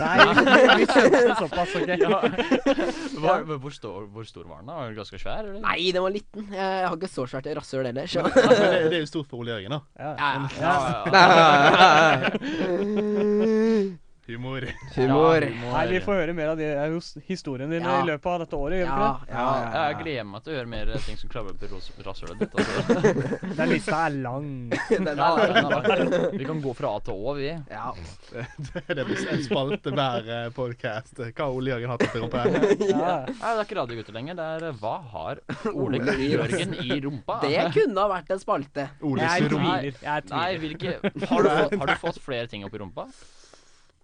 D: Nei, vi- vi skjønte det såpass, OK?
A: Var, hvor, stor, hvor stor var den? da? Var den ganske svær? eller?
B: Nei, den var liten. Jeg, jeg har ikke så svært rasshøl heller, så
C: Men det, det er jo stort for Ole Jørgen, da.
D: Ja.
B: ja,
A: Ja,
B: ja.
D: altså.
A: ja, ja.
B: Humor.
C: Humor.
A: Ja, humor.
D: Nei, vi får høre mer av de eh, hos- historiene dine
B: Ja.
D: i løpet av dette året, gjør vi
B: Ja,
D: ikke
B: ja, ja,
A: Jeg gleder meg til å høre mer ting som kravler opp i ros- rasshølet ditt. Altså.
D: det? Den lista er lang.
B: Den
A: Ja,
B: er-
A: den har vært- vi kan gå fra A til Å, vi.
B: ja.
C: Det blir en spalte hver podkast. Hva har Ole Jørgen hatt oppi rumpa?
D: Ja.
A: Nei, det er ikke radiogutter lenger. Det er eh, Hva har Ole Jørgen i rumpa?
B: Det kunne ha vært en spalte.
C: Oles
D: Jeg
A: rom.
C: rom.
D: tviler.
A: Nei,
D: Jeg tviler.
A: hvilke har du, fått, har du fått flere ting opp i rumpa?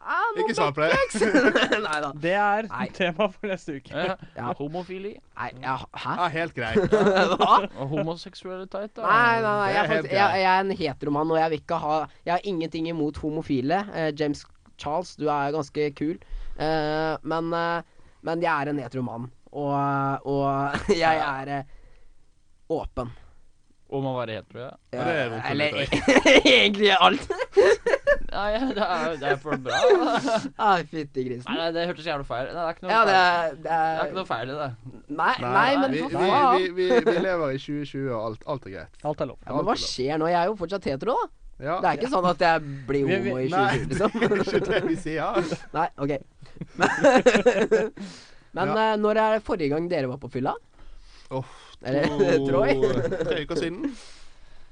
B: Ah, nå
C: Ikke svar på det.
B: ble- Nei da.
D: Det er
B: Nei.
D: tema for neste uke.
A: Eh,
B: Ja.
A: Homofili?
B: Nei, ja, hæ?
C: Ja, helt greit.
B: Hva?
A: Og Homoseksualitet? da?
B: Nei, nei, nei, jeg,
C: Det er
B: er
C: helt
B: faktisk, jeg, jeg er en heteromann, og jeg vil ikke ha Jeg har ingenting imot homofile. Eh, James Charles, du er ganske kul. Eh, men, eh, men jeg er en heteromann, og, og jeg er eh, åpen. Eh,
A: Og man være hetero, ja.
C: Ja, det er vondt å
B: Eller
C: vite,
B: egentlig alt.
A: Nei, det er, det er for bra. da.
B: Nei, fytti
A: Nei,
B: grisen.
A: nei, det hørtes jævlig feil Nei, Det er ikke noe
B: Ja, det
A: feil.
B: er, det
A: Det er
B: er
A: ikke noe feil i det.
B: Nei, nei, men
C: vi,
B: for
C: vi,
B: faen.
C: vi, vi, vi lever i 2020, og alt, alt er greit.
D: Alt er lov.
B: Ja, men hva skjer nå? Jeg er jo fortsatt hetero, da.
C: Ja.
B: Det er ikke sånn at jeg blir
D: Vi- vi-
B: homo i
C: Nei,
B: 2020,
C: det
B: liksom.
C: er ikke det vi sier.
B: Nei, OK. Men
C: Ja.
B: eh, når er det forrige gang dere var på fylla?
C: Uff,
B: Eller
C: to-
B: Troy?
C: Tre uker siden.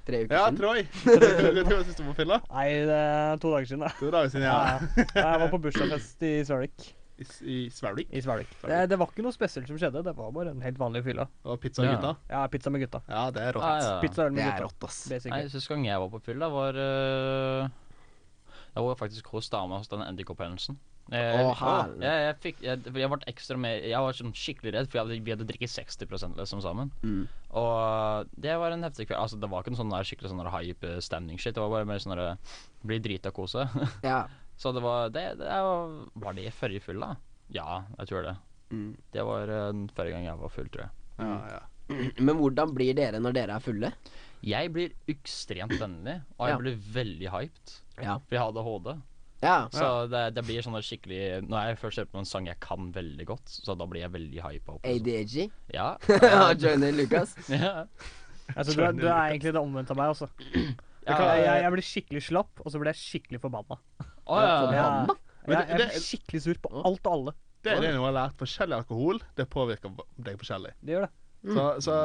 B: Tre uker
C: Ja,
B: siden?
C: Troy. Hva var sist du var på fylla?
D: Nei, det er to dager siden, da.
C: To dager siden, ja.
D: Ja. Jeg var på bursdagsfest i Svelvik.
C: I, i Svelvik.
D: I Svelvik. Det, det var ikke noe spesielt som skjedde, det var bare en helt vanlig fylla.
C: Og pizzagutta.
D: Ja, pizza med gutta.
C: Ah, Ja, det er
A: Ja,
C: rått.
A: ja.
D: Pizza og øl
B: Det
D: med
B: er
D: gutta.
B: rått, ass.
A: Nei,
D: Basically.
A: Sist gang jeg var på fylla, var eh, Jeg var faktisk hos dama hos den edderkopphendelsen. Jeg,
B: Å, herre.
A: Eh, jeg, jeg, fikk, jeg, for jeg ble ekstra med Jeg var sånn skikkelig redd, for jeg hadde, vi hadde drikket 60 liksom sammen.
B: Mm.
A: Og det var en heftig kveld. Altså, det var ikke en sånn der skikkelig sånn der hype stemning shit. Det var bare mer sånn der bli drita og kose.
B: Ja.
A: Så det var det, det var, var det forrige fylla? Ja, jeg tror det.
B: Mm.
A: Det var eh, den forrige gang jeg var full, tror jeg.
C: Ja, ja.
B: Men hvordan blir dere når dere er fulle?
A: Jeg blir ekstremt vennlig, og jeg
B: Ja.
A: blir veldig hyped.
B: Ja.
A: For jeg har ADHD.
B: Ja.
A: Så det, det blir sånn skikkelig Når jeg først hører på en sang jeg kan veldig godt, så da blir jeg veldig hypa opp. liksom.
B: ADG.
A: Ja.
B: Johnny Lucas.
A: ja.
D: Altså, du, er- du er egentlig det omvendte av meg, altså.
A: Ja,
D: Jeg, jeg, jeg blir skikkelig slapp, og så blir jeg skikkelig forbanna.
A: Å, ja.
D: Ja.
B: Forbanna?
C: Men
D: Jeg,
C: det-
D: jeg
C: det-
D: blir skikkelig sur på alt og alle.
C: Det er det noe jeg har lært. Forskjellig alkohol det påvirker deg forskjellig.
D: Det gjør det.
C: Så,
B: Mm.
C: så,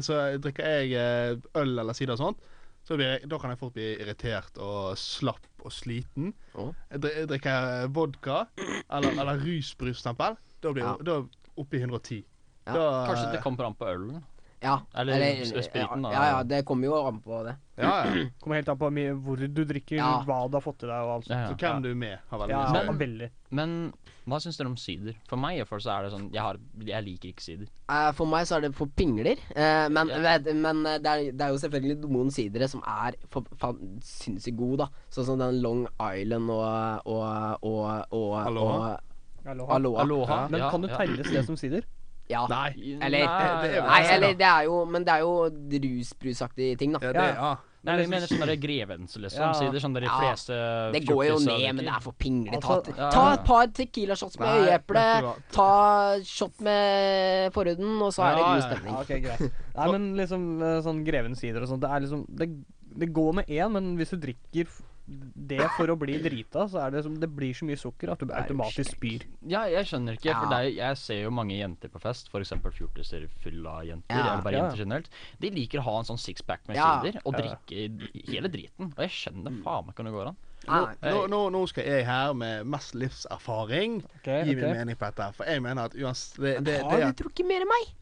C: så drikker jeg eh, øl eller sider og sånt, så blir jeg, da kan jeg fort bli irritert og slapp og sliten.
B: Å.
C: Jeg dri- Jeg drikker vodka eller, eller rusbrus, for eksempel. Da blir
B: Ja.
C: jeg da er jeg oppe i 110.
B: Ja.
C: Da,
A: Kanskje det kommer an på ølen.
B: Ja.
A: Eller spriten, da.
B: Ja, ja, det kommer jo an på det.
C: eh, Ja, ja.
D: Kommer helt an på mye- hvor du drikker,
B: Ja.
D: hva du har fått i deg og alt sånt.
A: Ja,
C: Så
A: ja.
C: hvem du er med, har veldig
D: Ja,
C: mye å si.
D: veldig.
A: Men hva syns dere om sider? For meg i hvert fall så er det sånn Jeg, har, jeg liker ikke sider.
B: Eh, For meg så er det for pingler. eh, Men,
A: Ja.
B: ved- men eh, det, er, det er jo selvfølgelig noen sidere som er for, faen sinnssykt gode, da. Sånn som den Long Island og og, og, og
C: Aloha?
D: Aloha.
B: Og, Aloha.
A: Aloha.
D: Men
A: ja,
D: kan du
A: ja.
D: telles det som sider?
B: Ja.
C: Nei.
B: Eller
A: Nei,
C: det er jo
B: Nei,
C: det,
B: eller
C: da.
B: det er jo Men det er jo rusbrusaktige ting, da.
C: Ja, det, ja.
A: Nei, jeg mener sånn der grevens, liksom.
D: Ja.
A: Sider sånn der de
B: Ja.
A: fleste
B: Det går jo
A: fjortiser
B: ned, men
A: drikker.
B: det er for pingle. Ta,
D: Altså,
A: ja.
B: ta et par Tequila-shots med
C: Nei,
B: øyeeple,
C: vet du hva?
B: ta shot med forhuden, og så er det
C: Ja,
B: god
C: ja, ja.
B: stemning.
D: Ja, ok, greit. Nei, men liksom eh, sånn Grevens sider og sånt, det er liksom Det, det går med én, men hvis du drikker f- det for å bli drita, så er det som Det blir så mye sukker at du
B: er jo
D: automatisk spyr.
A: Ja, jeg skjønner ikke, for
B: Ja.
A: det er, jeg ser jo mange jenter på fest, f.eks. fjortiser fulle av jenter,
B: Ja.
A: eller bare
D: Ja.
A: jenter generelt. De liker å ha en sånn sixpack med
B: Ja.
A: sider og
D: Ja.
A: drikke i- hele driten. Og jeg skjønner faen meg ikke hvordan det går an.
B: Nei, nei.
C: Nå, nå, nå skal jeg her med mest livserfaring
D: Ok,
C: gi min
D: ok.
C: mening på dette. For jeg mener at uansett det, det,
B: Har
C: det
B: du drukket mer enn meg?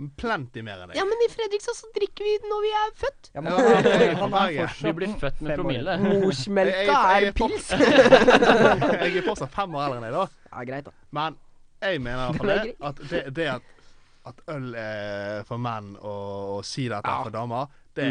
C: er plenty mer enn
B: Ja,
C: deg.
B: men i Fredrikstad så drikker vi når vi er født.
D: Ja, men han er,
C: Ja,
D: han er
C: ja.
D: fortsatt
A: Vi blir født med
D: fem år
A: promille.
D: eldre.
C: Jeg-
B: Morsmelka
C: jeg- jeg
B: er
C: er
B: pils.
C: Jeg er fortsatt fem år eldre enn deg, da.
B: Ja, greit, da.
C: Men jeg mener i hvert
B: Den
C: fall
B: er
C: det, at det, det at, at øl er for menn og, og sider at det er for damer, det,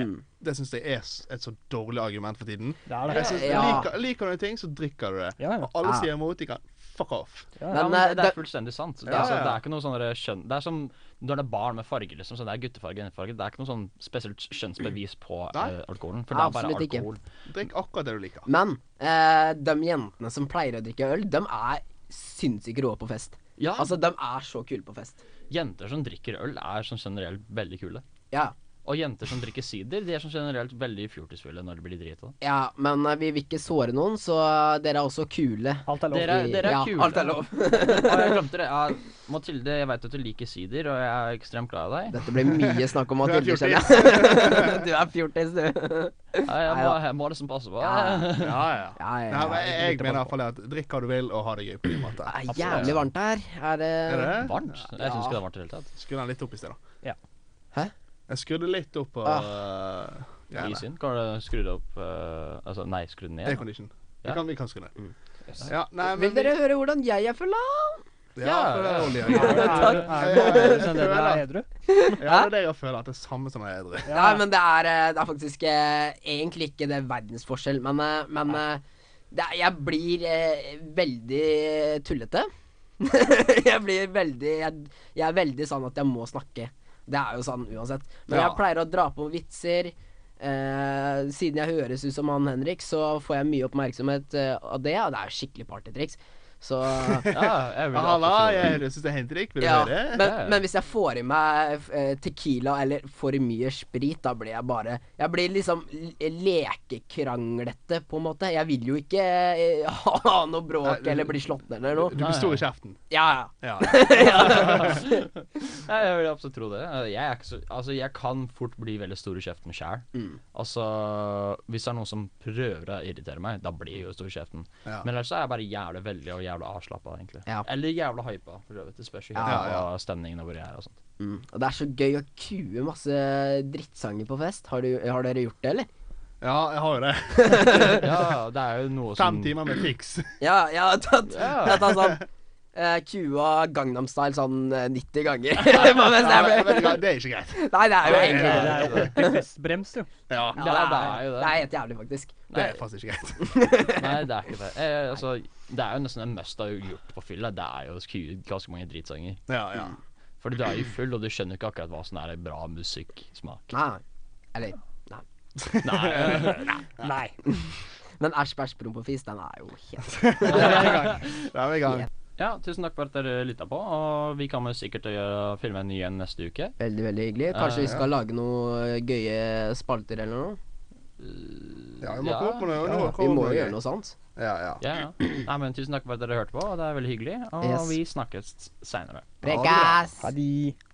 C: det syns jeg er s- et så dårlig argument for tiden.
D: Det er
C: Jeg
D: det.
C: synes,
B: Mm. Ja.
C: liker, liker du en ting, så drikker du det.
D: Ja, ja.
C: Og alle
B: Ja.
C: sier imot, de kan fuck off.
D: Ja,
A: Ja,
B: Men
A: men det,
B: eh,
A: det
B: det,
A: er fullstendig sant. Det er,
C: Ja,
A: altså,
C: ja.
A: det er ikke noe sånn der skjønn... Det er som når det er barn med farge, liksom. Så det er guttefarge og jentefarge. Det er ikke noe sånn spesielt skjønnsbevis på
C: Nei.
A: eh, alkoholen. For det er bare
B: Absolutt ikke.
A: alkohol.
C: Drikk akkurat det du liker.
B: men eh, de jentene som pleier å drikke øl, de er sinnssykt rå på fest.
A: Ja.
B: Altså, de er så kule på fest.
A: Jenter som drikker øl, er som generelt veldig kule.
B: Ja,
A: Og jenter som drikker sider, de er som generelt veldig fjortisfulle når de blir drita.
B: ja men eh, vi vil ikke såre noen, så eh, dere er også kule.
D: Alt er lov.
A: Dere,
B: Vi-
A: dere er
B: ja,
A: kule.
B: Alt er lov.
A: Ja, jeg glemte det. Ja, Mathilde, jeg veit at du liker sider, og jeg er ekstremt glad i deg.
B: Dette ble mye snakk om
C: Du er
B: Mathilde, kjenner jeg. Du er fjortis, du.
A: Ja, Jeg må, jeg må liksom passe på.
B: Ja.
C: Ja, ja.
B: Ja, ja,
C: Nei,
B: ja,
C: men jeg,
B: det
C: jeg
B: er
C: mener i hvert fall at drikk hva du vil, og ha det gøy på din måte.
B: Det er jævlig varmt her. Er det
C: Er det?
A: Varmt? Jeg syns ikke det er varmt i det hele tatt.
C: Skru den litt opp i sted, da.
D: Ja.
B: Hæ?
C: Jeg skrudde litt opp
B: Ah.
C: på uh,
A: Is inn. Kan du skru det opp eh, Altså, nei, skru det ned.
C: Aircondition.
A: Ja.
C: Vi, kan, vi kan skru ned. Ja, nei,
B: Mm. Vil dere høre hvordan jeg er full av?
C: Ja, for det er olje.
D: Er
C: Ja,
D: du- er du- er du- er du-
C: Takk.
D: er du- er du edru?
C: det er det jeg føler. At det er samme som når jeg er edru.
B: Nei, men det er, eh, det er faktisk eh, egentlig ikke det verdensforskjell, men, eh, men eh, det er, jeg blir eh, veldig tullete. jeg blir veldig jeg, jeg er veldig sånn at jeg må snakke. Det er jo sånn uansett. Men
C: Ja.
B: jeg pleier å dra på vitser. Eh, siden jeg høres ut som han Henrik, så får jeg mye oppmerksomhet eh, av det, og det er jo skikkelig partytriks. Så
A: Ja, jeg vil
C: Halla,
A: absolutt-
C: jeg syns det er hentrykk. Vil du
B: Ja,
C: høre?
B: men, men hvis jeg får i meg eh, tequila eller for mye sprit, da blir jeg bare Jeg blir liksom l- lekekranglete, på en måte. Jeg vil jo ikke eh, ha noe
C: Nei,
B: bråk
C: du-
B: eller bli slått ned eller
C: Du,
B: noe.
C: du blir stor i kjeften.
B: Ja, ja.
C: Ja.
A: Ja, jeg vil absolutt tro det. Eh, Jeg, er ikke så, altså, jeg kan fort bli veldig stor i kjeften sjæl.
C: Mm.
A: Altså, hvis det er noen som prøver å irritere meg, da blir jeg jo stor i kjeften.
C: Ja.
A: Men ellers så er jeg bare jævlig veldig og jævlig avslappa, egentlig.
B: Ja.
A: Eller jævlig hypa, for så vidt. Det spørs jo helt
C: Ja, ja.
A: på stemningen og hvor jeg er altså. og sånt.
B: Mm. Og det er så gøy å kue masse drittsanger på fest. Har, du, har dere gjort det, eller?
C: ja, jeg har jo det.
A: Ja, det er jo noe
C: Fem
A: som
C: timer med triks.
B: Ja, jeg har tatt,
A: Ja.
B: jeg har tatt sånn eh, Kua Gangnam Style sånn eh, 90 ganger. På mens jeg
C: Ja, men,
B: ble-
C: vet du hva, det er ikke greit.
B: Nei, det er jo
C: Nei,
D: Det
B: egentlig
D: er det er jo ordentlig festbrems, jo.
C: Ja,
B: ja,
A: Ja, det er jo det.
B: det er helt jævlig, faktisk.
C: Det er faktisk ikke greit.
A: Nei, det er ikke det. Eh, altså, det er jo nesten en must å ha gjort på fylla. Det er jo å skue ganske mange dritsanger.
C: Ja, ja.
A: Fordi du er jo full, og du skjønner ikke akkurat hva som er bra musikksmak. eh,
B: Nei, nei. Eller
A: Nei,
D: Nei.
B: Men æsj, bæsj, promp og fis, den er jo helt
C: Da er vi i gang.
A: Ja, tusen takk for at dere lytta på, og vi kommer sikkert til å gjøre- filme en ny en neste uke.
B: Veldig, veldig hyggelig.
A: Ja,
B: Kanskje vi
A: ja.
B: skal lage noen gøye spalter eller noe?
C: Ja, vi må
A: Ja.
C: komme opp med noe. nå
B: Vi må
C: kommer noe
B: jo
C: gøy.
B: gjøre noe sånt.
C: Ja, ja.
A: Ja, ja. Nei, men tusen takk for at dere hørte på, og det er veldig hyggelig. Og
B: Yes.
A: vi snakkes seinere.
C: Ha det bra.
B: Prekast!
D: Ha det.